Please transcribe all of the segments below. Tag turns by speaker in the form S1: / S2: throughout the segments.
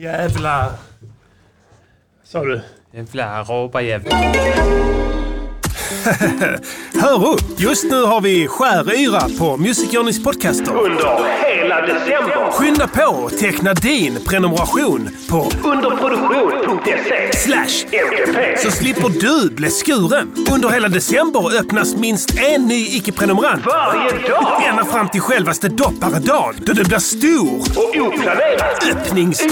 S1: Jävla... Sa du?
S2: Jävla råbarjävel.
S3: Hör upp! Just nu har vi Skär yra på Music Journeys podcaster.
S4: Under hela december.
S3: Skynda på och teckna din prenumeration på
S4: Underproduktion.se.
S3: Slash
S4: MGP.
S3: så slipper du bli skuren. Under hela december öppnas minst en ny icke-prenumerant.
S4: Varje dag.
S3: Ända fram till självaste dopparedagen då du blir stor.
S4: Och oplanerat.
S3: Öppnings...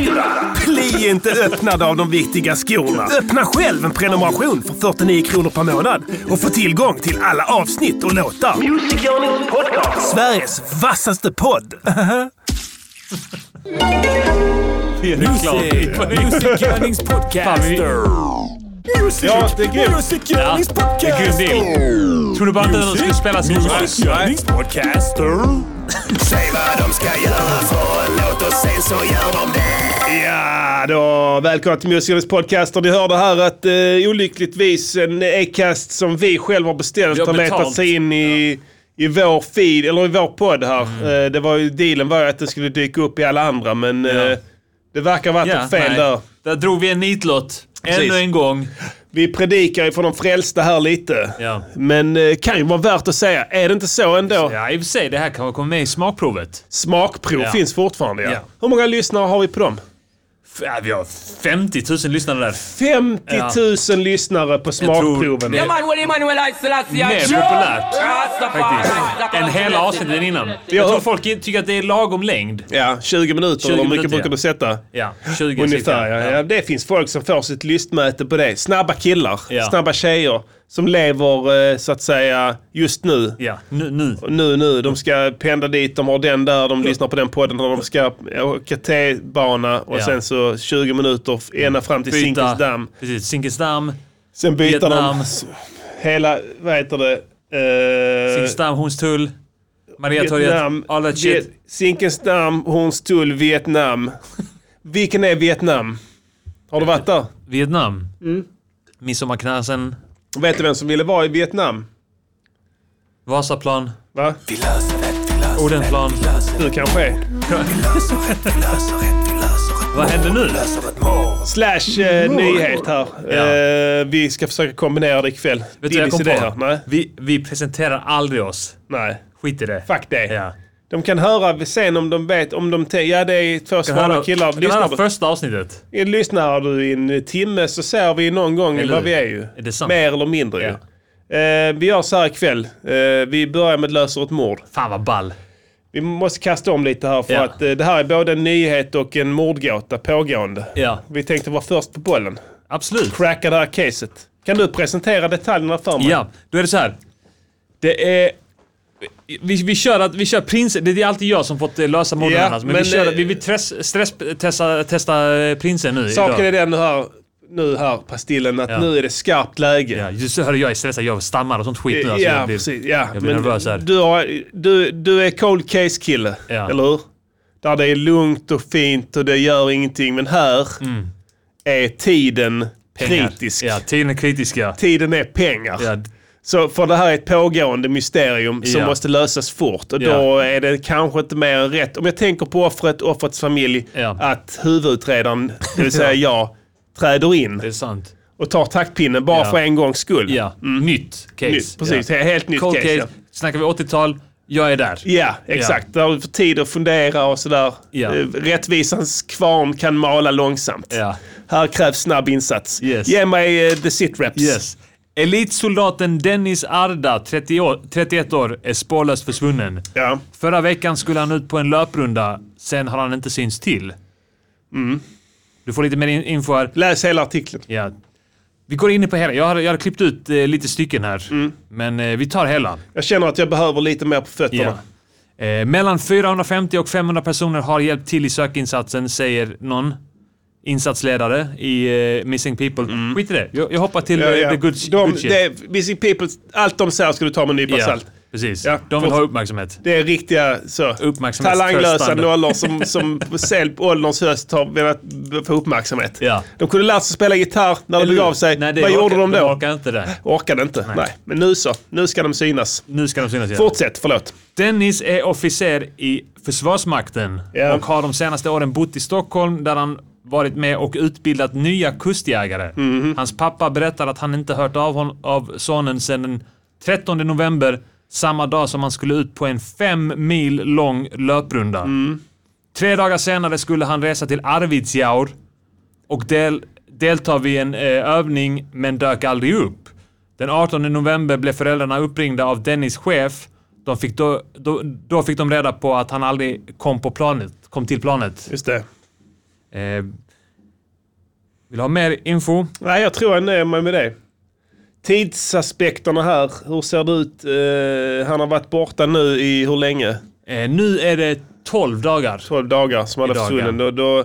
S3: Bli inte öppnad av de viktiga skorna. Öppna själv en prenumeration för 49 kronor per månad och få tillgång till alla avsnitt och låtar.
S4: Music Journeys podcast.
S3: Sveriges vassaste podd.
S2: Music.
S5: Music Yearnings Podcaster. Music
S1: Ja, det är grymt.
S5: Music Yearnings Podcaster.
S2: Tror du bara inte att den skulle spela sin
S5: Music Yearnings Podcaster.
S6: Säg vad de ska göra för en låt och sen så gör de det.
S1: Ja, då välkomna till Musikernas podcaster. Ni hörde här att eh, olyckligtvis en e-cast som vi själva har beställt
S2: Vi har
S1: har letat
S2: betalt.
S1: sig in i, i vår feed, eller i vår podd här.
S2: Mm.
S1: Eh, det var ju, dealen var ju att den skulle dyka upp i alla andra, men eh, det verkar ha varit
S2: Ja,
S1: ett fel
S2: nej.
S1: där.
S2: Där drog vi en nitlott. Ännu en gång.
S1: Vi predikar ju för de frälsta här lite.
S2: Ja.
S1: Men eh, kan ju vara värt att säga. Är det inte så ändå?
S2: Ja, i och för sig. Det här kan komma med i smakprovet.
S1: Smakprov
S2: Ja.
S1: finns fortfarande ja.
S2: Ja.
S1: Hur många lyssnare har vi på dem?
S2: F- Ja, vi har 50 000 lyssnare där.
S1: 50 000 lyssnare på
S2: tror
S1: smakproven.
S2: det-
S7: Ja man, Willy Manuel Aiselassia.
S2: Mer populärt. Faktiskt. Än hela avsnittet innan. Jag tror folk inte tycker att det är lagom längd.
S1: Ja, 20 minuter
S2: 20
S1: eller hur mycket
S2: minuter,
S1: brukar
S2: ja.
S1: du sätta?
S2: Ja, 20
S1: Ungefär
S2: cirka.
S1: ja. ja. Det finns folk som får sitt lystmäte på det. Snabba killar,
S2: Ja.
S1: snabba tjejer som lever eh, så att säga just nu.
S2: Ja, nu. nu.
S1: Nu, nu. De ska pendla dit, de har den där, de lyssnar på den podden, och de ska åka T-bana och
S2: Ja.
S1: sen så 20 minuter f- ända fram till Zinkensdamm. Eh,
S2: Precis, Zinkensdamm.
S1: Sen byter
S2: Vietnam.
S1: de s- hela, vad heter det? Eh,
S2: Zinkensdamm, Hornstull. Mariatorget.
S1: Vietnam,
S2: All that shit.
S1: Vi- Zinkensdamm, Hornstull, Vietnam. Vilken är Vietnam? Har du varit där?
S2: Vietnam. Midsommarknarsen.
S1: Vet du vem som ville vara i Vietnam?
S2: Vasaplan.
S1: Va?
S6: Vi löser rätt, vi löser
S2: Odenplan.
S1: Du kanske är.
S6: rätt, vi löser rätt, vi löser rätt.
S2: Vad händer nu?
S6: Löser ett mål.
S1: Slash eh,
S2: Mm.
S1: nyhet här. Eh, vi ska försöka kombinera det ikväll.
S2: Vet du vad
S1: Dillys
S2: jag kom
S1: idéer.
S2: på?
S1: Nej.
S2: Vi, vi presenterar aldrig oss.
S1: Nej.
S2: Skit i det.
S1: Fuck det.
S2: Ja.
S1: De kan höra sen om de vet om de... te- Ja, det är två
S2: Kan höra,
S1: smala killar.
S2: kan höra
S1: Lyssnar, du-
S2: första avsnittet.
S1: lyssnar du i en timme så ser vi någon gång
S2: Eller
S1: vad
S2: hur?
S1: vi är ju.
S2: Är det sant?
S1: Mer eller mindre ju.
S2: Ja.
S1: Eh, vi gör så här ikväll. Eh, vi börjar med löser ett mord.
S2: Fan vad ball.
S1: Vi måste kasta om lite här för
S2: Ja.
S1: att eh, det här är både en nyhet och en mordgåta pågående.
S2: Ja.
S1: Vi tänkte vara först på bollen.
S2: Absolut.
S1: Cracka det här caset. Kan du presentera detaljerna för mig?
S2: Ja, då är det så här. Det är... Vi, vi, kör, att, vi kör prins... Det är alltid jag som fått eh, lösa morden
S1: Ja,
S2: annars. Men,
S1: men,
S2: vi, kör,
S1: eh,
S2: att- vi vill stress, stress, testa, testa eh, prinsen nu
S1: Saken
S2: idag.
S1: är den här, nu här pastillen att
S2: Ja.
S1: nu är det skarpt
S2: Ja,
S1: läge.
S2: just hörde jag är stressad. Jag stammar och sånt skit nu.
S1: Ja,
S2: alltså, jag blir,
S1: precis. Ja.
S2: jag blir nervös här.
S1: Du, har, du, du är cold case kille,
S2: Ja.
S1: eller hur? Där det är lugnt och fint och det gör ingenting. Men här är tiden
S2: Mm. Pengar.
S1: kritisk.
S2: Ja, tiden är kritisk ja.
S1: Tiden är pengar.
S2: ja.
S1: Så för det här är ett pågående mysterium som
S2: Ja.
S1: måste lösas fort. Och då
S2: Ja.
S1: är det kanske inte mer än rätt, om jag tänker på offret, offrets familj,
S2: Ja.
S1: att huvudutredaren, det vill säga jag, träder in
S2: Det är sant.
S1: och tar taktpinnen bara
S2: Ja.
S1: för en gångs skull.
S2: Ja, nytt case.
S1: Nytt, precis,
S2: Ja.
S1: helt nytt
S2: Cold
S1: case.
S2: case.
S1: ja.
S2: Snackar vi 80-tal, jag är där.
S1: Ja, exakt. Där har du fått tid att fundera och sådär.
S2: Ja.
S1: Eh, Rättvisans kvarn kan mala långsamt.
S2: Ja.
S1: Här krävs snabb insats.
S2: Yes.
S1: Ge mig eh, the sit reps.
S2: Yes. Elitsoldaten Dennis Arda, 30 år, 31 år, är spårlöst försvunnen.
S1: Ja.
S2: Förra veckan skulle han ut på en löprunda, sen har han inte synts till.
S1: Mm.
S2: Du får lite mer in- info här.
S1: Läs hela artikeln.
S2: Ja. Vi går in på hela. Jag har, jag har klippt ut eh, lite stycken här,
S1: Mm.
S2: men eh, vi tar hela.
S1: Jag känner att jag behöver lite mer på fötterna.
S2: Eh, mellan 450 och 500 personer har hjälpt till i sökinsatsen, säger någon insatsledare i eh, Missing People. Skit i det. Jag, jag hoppar till
S1: Mm. Ja,
S2: eh,
S1: ja.
S2: The Good,
S1: de,
S2: good shit.
S1: det, Missing People, allt de säger ska du ta med en nypa
S2: Ja,
S1: salt.
S2: precis.
S1: Ja,
S2: de vill
S1: fort-
S2: ha uppmärksamhet.
S1: Det är riktiga så, talanglösa
S2: Uppmärksamhetstörstande.
S1: nollor som, som på sel- på ålderns höst har velat b- få uppmärksamhet.
S2: Ja.
S1: De kunde lärt sig spela gitarr när det
S2: Eller hur?
S1: begav sig.
S2: Nej, det
S1: Vad
S2: orkar-
S1: gjorde de
S2: De
S1: då?
S2: orkar inte det.
S1: Orkade inte. Nej. Men nu så. Nu ska de synas.
S2: Nu ska de synas igen.
S1: Fortsätt, förlåt.
S2: Dennis är officer i Försvarsmakten
S1: Ja.
S2: och har de senaste åren bott i Stockholm där han varit med och utbildat nya kustjägare. Hans pappa berättar att han inte hört av, hon, av sonen sedan den 13 november, samma dag som han skulle ut på en fem mil lång löprunda. Tre dagar senare skulle han resa till Arvidsjaur och del, delta vid en eh, övning men dök aldrig upp. Den 18 november blev föräldrarna uppringda av Dennis chef. De fick då, då, då fick de reda på att han aldrig kom på planet, kom till planet.
S1: Just det.
S2: Eh, vill du ha mer info?
S1: Nej, jag tror jag nöjer mig med det. Tidsaspekterna här. Hur ser det ut? Eh, han har varit borta nu i hur länge?
S2: Eh, nu är det 12 dagar.
S1: 12 dagar som han är
S2: Dagar.
S1: försvunnen. Då, då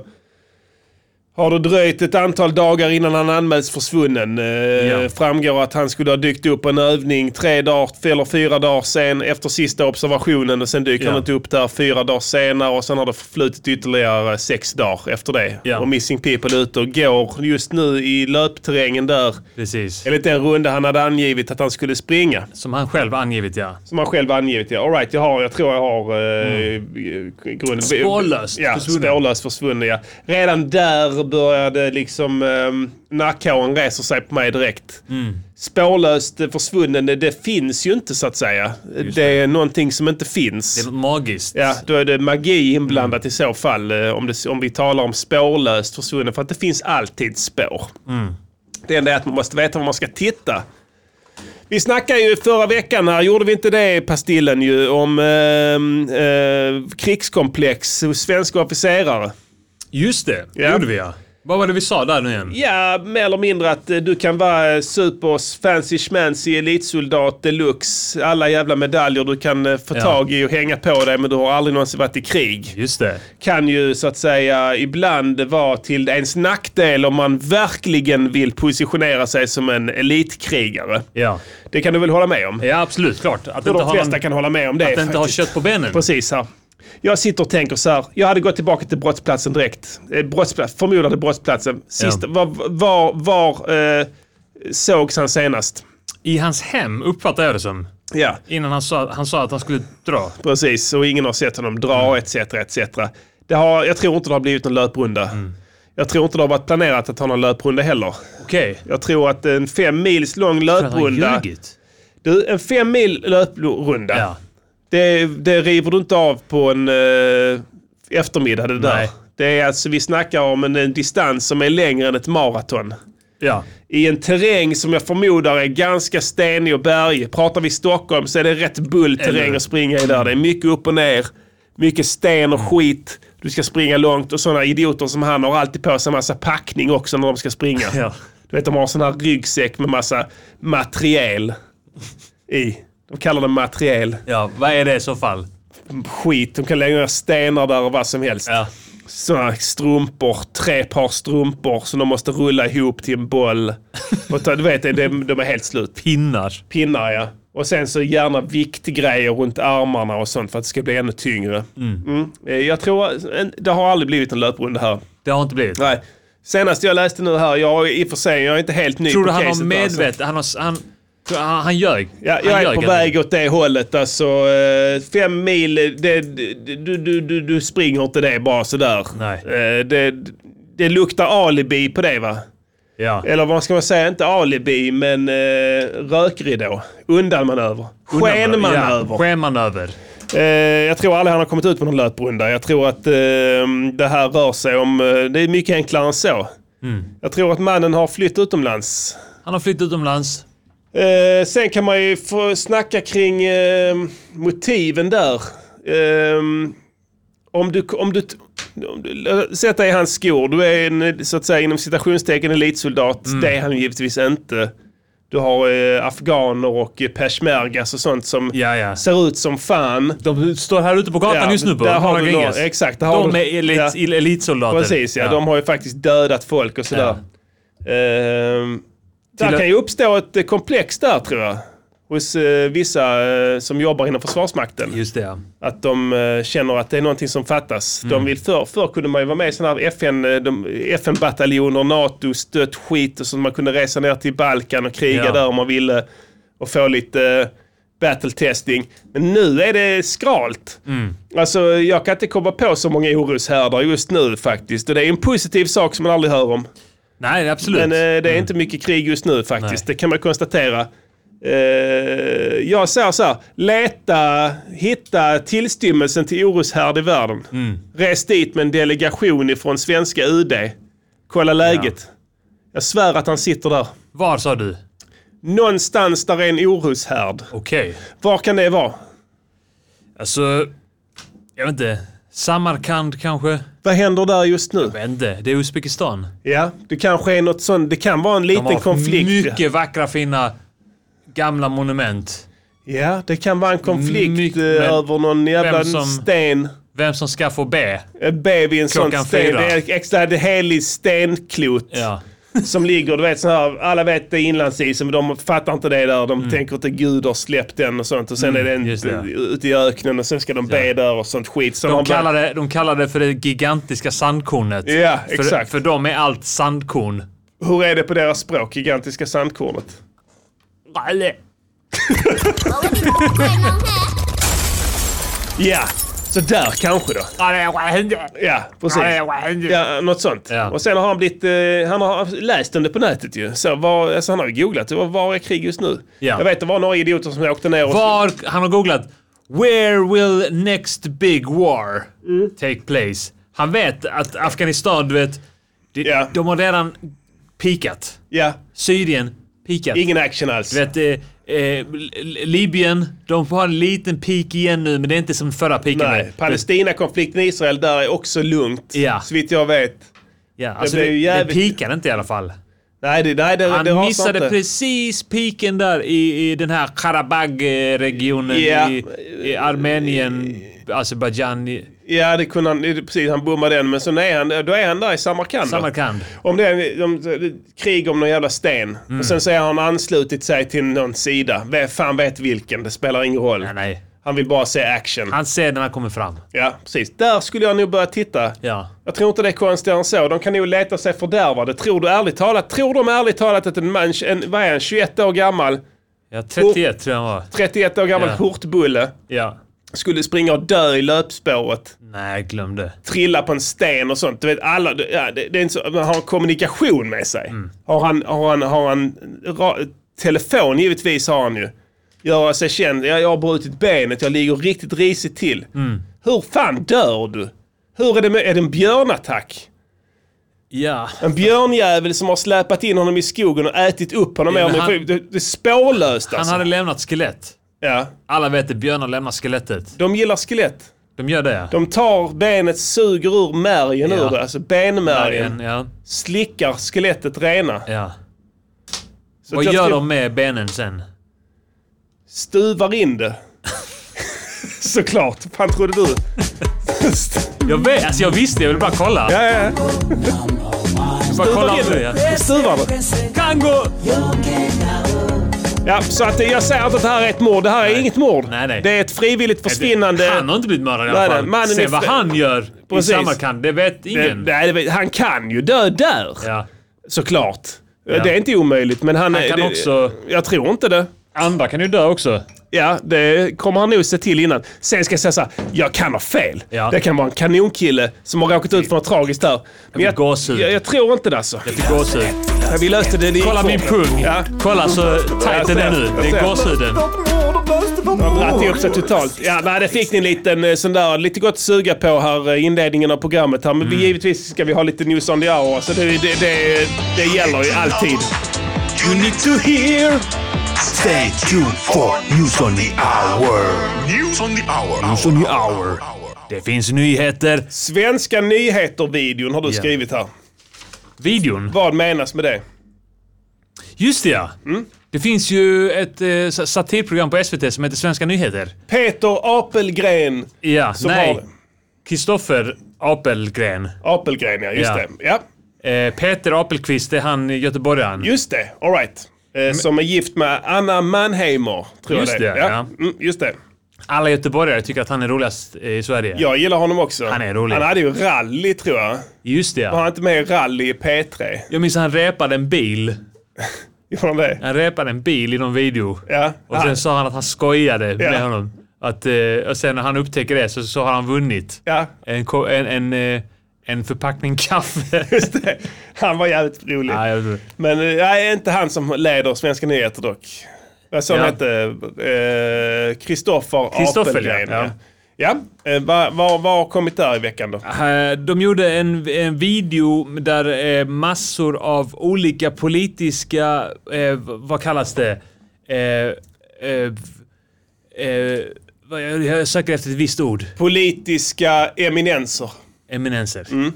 S1: har det dröjt ett antal dagar innan han anmäls försvunnen. Eh,
S2: Ja.
S1: Framgår att han skulle ha dykt upp på en övning tre dagar eller fyra dagar sen efter sista observationen och sen dyker
S2: Ja.
S1: han inte upp där fyra dagar senare och sen har det förflutit ytterligare sex dagar efter det.
S2: Ja.
S1: Och Missing People är ute och går just nu i löpterrängen där.
S2: Precis.
S1: Enligt den runda han hade angivit att han skulle springa.
S2: Som han själv angivit ja.
S1: Som han själv angivit. Ja. All right, jag, har, jag tror jag har eh, grunden.
S2: Mm. Spårlöst
S1: ja,
S2: försvunnen.
S1: Spårlöst försvunnen, ja. Redan där började liksom eh, nackhåren reser sig på mig direkt.
S2: Mm.
S1: Spårlöst eh, försvunnen, det, det finns ju inte så att säga. Det, är någonting som inte
S2: Det är
S1: finns.
S2: något magiskt.
S1: Ja, då är det magi inblandat i så fall. eh, Om, det, om vi talar om spårlöst försvunnen. För att det finns alltid spår. Det enda är att man måste veta var man ska titta. Vi snackade ju förra veckan här, gjorde vi inte det Pastillen ju, om eh, eh, krigskomplex hos svenska officerare.
S2: Just det,
S1: Ja.
S2: det gjorde vi ja. Vad var det vi sa där nu igen?
S1: Ja, mer eller mindre att eh, du kan vara eh, super fancy schmancy elitsoldat deluxe. Alla jävla medaljer du kan eh, få
S2: Ja.
S1: tag i och hänga på dig men du har aldrig någonsin varit i krig.
S2: Just det.
S1: kan ju så att säga ibland vara till ens nackdel om man verkligen vill positionera sig som en elitkrigare.
S2: Ja.
S1: Det kan du väl hålla med om?
S2: Ja absolut, klart. Att
S1: Jag
S2: inte
S1: tror de
S2: ha
S1: flesta
S2: någon-
S1: kan hålla med om det.
S2: Att inte ha
S1: faktiskt.
S2: kött på benen.
S1: Precis här. Jag sitter och tänker så här. Jag hade gått tillbaka till brottsplatsen direkt. Eh, Brottsplats, förmodade brottsplatsen. Sist,
S2: Ja.
S1: Var, var, var eh, sågs han senast?
S2: I hans hem uppfattar jag det som.
S1: Ja,
S2: Innan han sa, han sa att han skulle dra.
S1: precis. Och ingen har sett honom dra etc. etc. Det har, jag tror inte det har blivit någon löprunda. Jag tror inte det har varit planerat att ha någon löprunda heller.
S2: Okej.
S1: Jag tror att en fem mils lång
S2: Att han
S1: löprunda.
S2: ljugit.
S1: Du, en fem mil löprunda.
S2: Ja.
S1: Det, det river du inte av på en eh, eftermiddag det där.
S2: Nej.
S1: Det är alltså, vi snackar om en, en distans som är längre än ett maraton.
S2: Ja.
S1: I en terräng som jag förmodar är ganska stenig och bergig. Pratar vi Stockholm så är det rätt bull terräng
S2: Eller-
S1: att springa i där. Det är mycket upp och ner. Mycket sten och skit. Du ska springa långt och sådana idioter som han har alltid på sig en massa packning också när de ska springa.
S2: Ja.
S1: Du vet, de har sån här ryggsäck med massa materiel i. De kallar det materiel.
S2: ja. Vad är det i så fall?
S1: Skit. De kan lägga ner stenar där och vad som helst.
S2: Ja.
S1: Såna strumpor, tre par strumpor som de måste rulla ihop till en boll. Och ta, du vet, det- de, de är helt slut.
S2: Pinnar.
S1: Pinnar ja. Och sen så gärna viktgrejer runt armarna och sånt för att det ska bli ännu tyngre. Mm. Eh, Jag tror, en- det har aldrig blivit en löprunda här.
S2: Det har inte blivit.
S1: Nej. Senast jag läste nu här, jag i och för sig, jag är inte helt ny
S2: Tror du
S1: på
S2: han
S1: caset
S2: har
S1: där, alltså.
S2: medvetet... Han, har, han, han, han ljög.
S1: Ja,
S2: han
S1: jag är
S2: ljög
S1: på
S2: helt
S1: väg åt det hållet. Alltså, eh, fem mil, eh, det, det- du, du, du, du springer inte det bara sådär.
S2: Nej.
S1: Eh, Det, det luktar alibi på det va?
S2: enkelt. Ja.
S1: Eller vad ska man säga? Inte alibi, men eh, rökridå. Undanmanöver. Skenmanöver.
S2: Ja, Skenmanöver.
S1: Eh, jag tror aldrig han har kommit ut på någon löprunda. Jag tror att eh, det här rör sig om... eh, Det är mycket enklare än så.
S2: Mm.
S1: Jag tror att mannen har flytt utomlands.
S2: Han har flytt utomlands.
S1: Eh, sen kan man ju få snacka kring eh, motiven där. Eh, om du... Om du, om du sätt dig i hans skor. Du är en, så att säga, inom citationstecken elitsoldat.
S2: Mm.
S1: Det är han ju givetvis inte. Du har eh, afghaner och eh, peshmergas och sånt som
S2: Ja, ja.
S1: ser ut som fan.
S2: De står här ute på gatan
S1: Ja,
S2: just nu på
S1: där har du
S2: Haga
S1: nå- exakt, där har
S2: De
S1: du-
S2: är elit,
S1: Ja.
S2: il- elitsoldater.
S1: Precis ja, de har ju faktiskt dödat folk och sådär. Ehm,
S2: Till-
S1: där kan ju uppstå ett eh, komplex där tror jag. Hos eh, vissa eh, som jobbar inom Försvarsmakten.
S2: Just det, ja.
S1: Att de eh, känner att det är någonting som fattas. De vill för, förr kunde man ju vara med i sådana här FN, eh, de- FN-bataljoner, NATO, stött skit och så man kunde resa ner till Balkan och kriga
S2: Ja.
S1: där om man ville. Och få lite battle testing. Men nu är det skralt. Alltså jag kan inte komma på så många oroshärdar just nu faktiskt. Och det är en positiv sak som man aldrig hör om.
S2: Nej, absolut. Mm.
S1: Men eh, det är inte mycket krig just nu faktiskt. Det kan man konstatera. Eh, jag säger så här. Leta, hitta tillstymmelsen till oroshärd i världen.
S2: Mm.
S1: Res dit med en delegation ifrån svenska UD. Kolla läget. Jag svär att han sitter där.
S2: Var sa du?
S1: Någonstans där är en oroshärd.
S2: Okej.
S1: Var kan det vara?
S2: Alltså, jag vet inte. Samarkand kanske?
S1: Vad händer där just nu?
S2: Jag vet inte. Det är Uzbekistan.
S1: Ja, det kanske är något sånt. Det kan vara en
S2: De har
S1: liten konflikt.
S2: mycket vackra fina gamla monument.
S1: Ja, det kan vara en konflikt
S2: Mycket,
S1: eh,
S2: men
S1: över någon jävla
S2: vem som-
S1: sten.
S2: Vem som ska få be.
S1: En baby i en sån
S2: Klockan
S1: sten.
S2: fyra.
S1: Det är extra det är helig stenklot
S2: Ja.
S1: som ligger, du vet så här, alla vet det är inlandsisen men de fattar inte det där. De tänker att det är Gud har släppt den och sånt och sen är den
S2: Mm. just det.
S1: ute i öknen och sen ska de be där och sånt skit. Så
S2: De
S1: har man-
S2: kallar, det, de kallar det för det gigantiska sandkornet.
S1: Ja,
S2: för,
S1: exakt.
S2: För dem är allt sandkorn.
S1: Hur är det på deras språk, gigantiska sandkornet? Ja, så där kanske då. Ja, precis. Ja, något sånt.
S2: Ja.
S1: Och sen har han blivit, eh, han har läst om det på nätet ju. Så var, alltså han har ju googlat, det var, var är krig just nu?
S2: Ja.
S1: Jag vet det var några idioter som åkte ner och...
S2: Var, han har googlat. Where will next big war
S1: Mm.
S2: take place? Han vet att Afghanistan, du vet, de,
S1: Ja.
S2: de har redan pikat.
S1: Ja,
S2: Syrien, pikat.
S1: ingen action alls.
S2: Du vet, eh, eh, L- Libyen, de har en liten peak igen nu, men det är inte som förra peaken.
S1: Nej, Palestina-konflikten i Israel där är också lugnt.
S2: Ja.
S1: så vitt jag vet.
S2: Ja, alltså
S1: blev
S2: det,
S1: ju
S2: det,
S1: jävligt-
S2: peakar inte i alla fall.
S1: Nej, det, nej, det,
S2: Han
S1: det rasar
S2: missade
S1: inte.
S2: precis piken där i, i den här Karabag-regionen
S1: Ja.
S2: i, i Armenien, Azerbajdzjan, i
S1: Ja, det kunde han, det- precis, han bommade den. Men sen är han, då är han där i Samarkand. då.
S2: Samarkand.
S1: Om det är om, krig om någon jävla sten.
S2: Mm.
S1: Och sen så har han anslutit sig till någon sida. Vem fan vet vilken, det spelar ingen roll.
S2: Nej, nej.
S1: Han vill bara se action.
S2: Han ser när han kommer fram.
S1: Ja, precis. Där skulle jag nog börja titta.
S2: Ja.
S1: Jag tror inte det är konstigare än så. De kan nog leta sig fördärvade. Tror du ärligt talat, tror de ärligt talat att en man, en, vad är han, 21 år gammal,
S2: Ja, 31 tror jag han var.
S1: 31 år gammal
S2: Ja.
S1: skjortbulle
S2: Ja.
S1: skulle springa och dö i löpspåret,
S2: Nej, glöm det.
S1: trilla på en sten och sånt. Du vet, alla, det- ja, det, det är inte så, man har en kommunikation med sig.
S2: Mm.
S1: Har han, har han, har han ra, telefon givetvis har han ju. Göra sig känd, jag, jag har brutit benet, jag ligger riktigt risigt till.
S2: Mm.
S1: Hur fan dör du? Hur är det med, är det en björnattack?
S2: Ja.
S1: En björnjävel som har släpat in honom i skogen och ätit upp honom.
S2: Ja, men
S1: mer
S2: han-
S1: det, det är spårlöst
S2: Han
S1: alltså.
S2: hade lämnat skelett.
S1: ja.
S2: Alla vet att björnar lämnar skelettet.
S1: De gillar skelett.
S2: De gör det.
S1: De tar benet, suger ur märgen
S2: Ja.
S1: ur det, alltså benmärgen.
S2: Ja.
S1: Slickar skelettet rena.
S2: ja.
S1: Så
S2: Vad
S1: att jag
S2: gör
S1: tror-
S2: de med benen sen?
S1: Stuvar in det. Såklart. Fan trodde du?
S2: Jag vet, alltså jag visste, jag ville bara kolla.
S1: ja, ja.
S2: jag bara kolla
S1: in
S2: nu. Ja.
S1: det. Stuvar det.
S2: Kango!
S1: Ja, så att eh, jag säger inte att det här är ett mord. Det här är inget mord.
S2: Nej, nej.
S1: Det är ett frivilligt försvinnande.
S2: Han har inte blivit mördad i
S1: Nej,
S2: alla
S1: nej,
S2: fall.
S1: mannen
S2: Se
S1: är
S2: vad
S1: fri-
S2: han gör
S1: Precis.
S2: i Samarkand, det vet
S1: det,
S2: ingen.
S1: Eh, nej, det vet- han kan ju dö där.
S2: Ja.
S1: Såklart. Det är inte omöjligt, men han,
S2: Han kan
S1: det,
S2: också-
S1: Jag tror inte det.
S2: Andra kan ju dö också.
S1: Ja, det kommer han nog se till innan. Sen ska jag säga så här, jag kan ha fel.
S2: Ja.
S1: Det kan vara en kanonkille som har råkat ut för något tragiskt där. Men
S2: fick gåshud.
S1: jag, jag tror inte det alltså.
S2: Jag fick gåshud.
S1: Ja, Vi löste det i
S2: Kolla min pung.
S1: Ja.
S2: Kolla så tight den är nu.
S1: Jag
S2: Det
S1: ser.
S2: är gåshuden.
S1: Att upp sig totalt. Ja, nej, det fick ni en liten eh, sån där, lite gott att suga på här eh, i inledningen av programmet här. Men
S2: Mm.
S1: vi, givetvis ska vi ha lite news on the hour, så det, det, det, det gäller ju alltid. You need to hear!
S6: Stay tuned for news on the hour.
S5: News on the hour.
S6: News on the hour.
S2: Det finns nyheter.
S1: Svenska nyheter-videon har du
S2: Ja.
S1: skrivit här.
S2: Videon.
S1: Vad menas med det?
S2: Just det ja.
S1: Mm.
S2: Det finns ju ett eh, sa- satirprogram på SVT som heter Svenska nyheter.
S1: Peter Apelgren.
S2: Ja,
S1: Som
S2: nej.
S1: har-
S2: Kristoffer Apelgren.
S1: Apelgren, ja. Just
S2: Ja.
S1: det. Ja,
S2: Eh, Peter Apelqvist, det är han i göteborgaren.
S1: just det. All right. Eh, Som är gift med Anna Mannheimer, tror
S2: Just
S1: jag det är.
S2: det, ja.
S1: Mm, just det.
S2: Alla göteborgare tycker att han är roligast eh, i Sverige.
S1: Jag gillar honom också.
S2: Han är rolig.
S1: Han hade ju rally, tror jag.
S2: Just det
S1: Var
S2: ja.
S1: han inte med i rally i P3?
S2: Jag minns han repade en bil.
S1: Gjorde han det?
S2: Han repade en bil i någon video.
S1: Ja.
S2: Och sen sa han att han skojade med
S1: Ja.
S2: honom. Att, eh, och sen när han upptäcker det så, så har han vunnit.
S1: Ja.
S2: En, ko- en, en, eh, en förpackning kaffe.
S1: Just det. Han var jävligt rolig.
S2: Nej, jag vet inte.
S1: Men eh, nej, inte han som leder Svenska nyheter dock. Vad sa han
S2: Ja.
S1: hette? Kristoffer
S2: Christoffer,
S1: Apelgren.
S2: ja.
S1: Ja, ja. eh, vad vad- vad har kommit där i veckan då?
S2: Eh, De gjorde en, en video där eh, massor av olika politiska, eh, v- vad kallas det? Eh, eh, eh, vad- jag- jag söker efter ett visst ord.
S1: Politiska eminenser.
S2: Eminenser.
S1: Mm.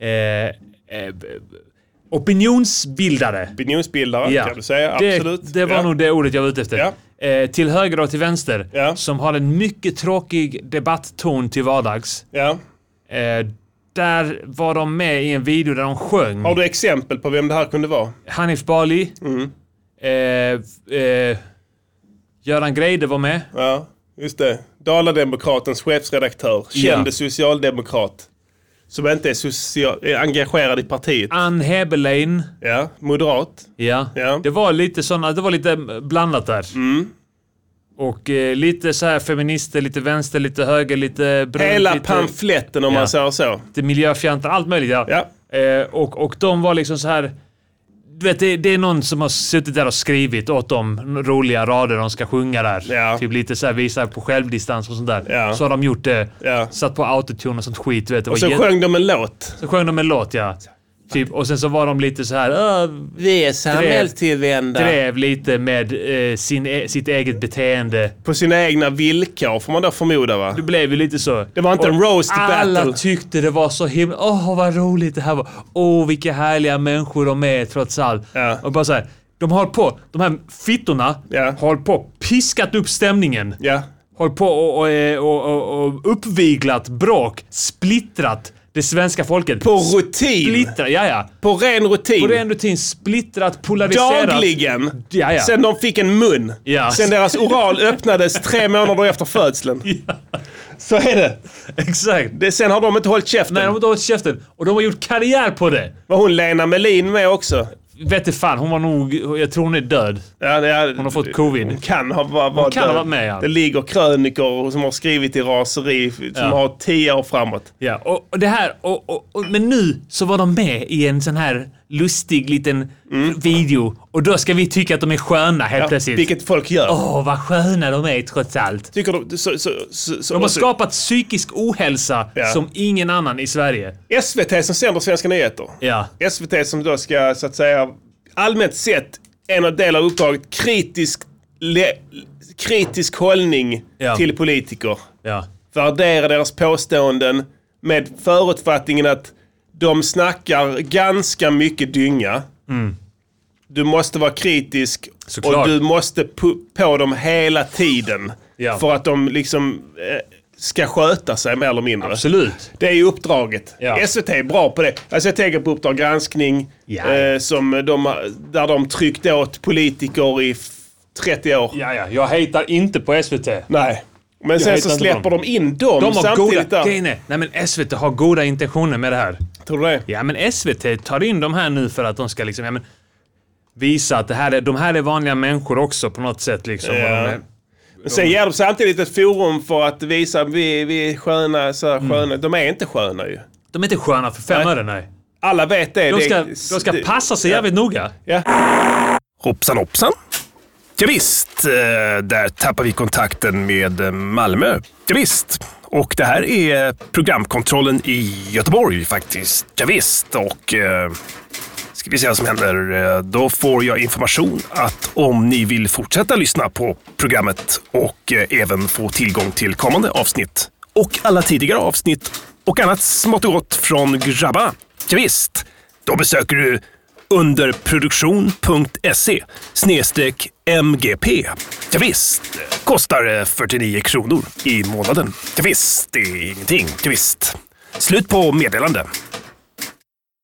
S2: Eh, eh, b- opinionsbildare.
S1: Opinionsbildare
S2: Ja.
S1: kan du säga.
S2: Det,
S1: Absolut.
S2: det var
S1: ja.
S2: nog det ordet jag var ute efter. Eh, till höger och till vänster.
S1: Ja.
S2: Som har en mycket tråkig debattton till vardags.
S1: Ja.
S2: Eh, där var de med i en video där de sjöng.
S1: Har du exempel på vem det här kunde vara?
S2: Hanif Bali.
S1: Mm.
S2: Eh, eh, Göran Greide var med.
S1: Ja, just det. Dalademokratens chefsredaktör. Kände socialdemokrat. Som inte är, social, är engagerad i partiet.
S2: Ann Heberlein.
S1: Ja, moderat.
S2: Ja.
S1: Ja. Mm.
S2: Det var lite såna, det var lite blandat där. Och eh, lite så här feminister, lite vänster, lite höger, lite brunt,
S1: Hela
S2: lite,
S1: pamfletten om
S2: Ja.
S1: man säger så.
S2: lite miljöfjantar, allt möjligt. Ja.
S1: Ja.
S2: Eh, och, och de var liksom så här... Du vet, det, det är någon som har suttit där och skrivit åt dem roliga rader de ska sjunga där.
S1: Ja.
S2: Typ lite så här visa på självdistans och sånt där.
S1: Ja.
S2: Så har de gjort det.
S1: Ja.
S2: Satt på autotune och sånt skit. Du vet, det var
S1: Och så
S2: jätte-
S1: sjöng de en låt.
S2: så sjöng de en låt, ja. Typ, och sen så var de lite så här... "Åh,
S1: Vi är
S2: samhällstillvända. drev lite med eh, sin, e- sitt eget beteende.
S1: På sina egna villkor får man då förmoda va?
S2: Det blev ju lite så.
S1: Det var inte en roast
S2: alla
S1: battle.
S2: tyckte det var så himla... Åh, vad roligt det här var. Åh, vilka härliga människor de är trots allt.
S1: Ja.
S2: Och bara så här, de har på, de här fittorna
S1: Ja.
S2: har på piskat upp stämningen.
S1: Ja.
S2: Har på och, och, eh, och, och, och uppviglat bråk, splittrat det svenska folket.
S1: På rutin.
S2: Splittrat, ja ja.
S1: På ren rutin.
S2: På ren rutin, splittrat, polariserat.
S1: Dagligen.
S2: Ja, ja.
S1: Sen de fick en mun.
S2: Ja.
S1: Sen deras oral öppnades tre månader efter födseln. Så är det.
S2: Exakt.
S1: det. Sen har de inte hållit käften.
S2: Nej, de har inte hållit käften. Och de har gjort karriär på det.
S1: Var hon Lena Melin med också?
S2: Vet du fan, hon var nog... Jag tror hon är död.
S1: Ja, det är, hon
S2: har fått covid.
S1: Hon kan ha var, var
S2: kan ha varit med, ja.
S1: Det ligger krönikor som har skrivit i raseri som
S2: Ja.
S1: har tio år framåt.
S2: Ja, och, och det här... Och, och, och, men nu så var de med i en sån här lustig liten video. Och då ska vi tycka att de är sköna helt
S1: Mm. Ja,
S2: plötsligt.
S1: vilket folk gör.
S2: Åh, vad sköna de är trots allt.
S1: Tycker de, så, så, så, så,
S2: De har skapat psykisk ohälsa
S1: Ja.
S2: som ingen annan i Sverige.
S1: SVT som sänder svenska nyheter.
S2: Ja.
S1: SVT som då ska, så att säga, allmänt sett, en av del av uppdraget, kritisk, le, kritisk hållning
S2: Ja.
S1: till politiker.
S2: Ja.
S1: Värdera deras påståenden med förutfattningen att de snackar ganska mycket dynga. Du måste vara kritisk
S2: Mm. Såklart.
S1: och du måste pu- på dem hela tiden.
S2: Ja.
S1: För att de liksom eh, ska sköta sig mer eller mindre.
S2: Absolut.
S1: Det är ju uppdraget.
S2: Ja.
S1: SVT är bra på det. Alltså jag tänker på Uppdrag granskning.
S2: Ja.
S1: Eh, som de, där de tryckte åt politiker i f- 30 år.
S2: Ja, ja. Jag hatar inte på SVT.
S1: Nej. Men sen
S2: heter
S1: så
S2: inte
S1: släpper
S2: dem.
S1: de in dem
S2: De har
S1: samtidigt
S2: goda...
S1: där.
S2: Grejen är, nej men SVT har goda intentioner med det här.
S1: Tror du det?
S2: Ja, men SVT tar in de här nu för att de ska liksom, ja, men visa att det här är, de här är vanliga människor också på något sätt. Liksom,
S1: Ja.
S2: Och de är,
S1: Men sen ger de samtidigt ett forum för att visa att vi, vi är sköna, så
S2: Mm.
S1: här, sköna. De är inte sköna ju.
S2: de är inte sköna för fem
S1: Nej.
S2: öre, nej.
S1: Alla vet det.
S2: De ska,
S1: det,
S2: de ska passa sig jävligt noga.
S3: Hoppsan hoppsan. Ja, visst, eh, där tappar vi kontakten med eh, Malmö. Ja, visst. Och det här är programkontrollen i Göteborg faktiskt. Ja, visst. och eh, ska vi se vad som händer. Eh, Då får jag information att om ni vill fortsätta lyssna på programmet och eh, även få tillgång till kommande avsnitt och alla tidigare avsnitt och annat smått och gott från grabbarna. Ja, visst. då besöker du underproduktion.se E snedstreck MGP. Ja, visst. kostar eh, 49 kronor i månaden. Ja, visst. det är ingenting. Ja, visst. Slut på meddelande.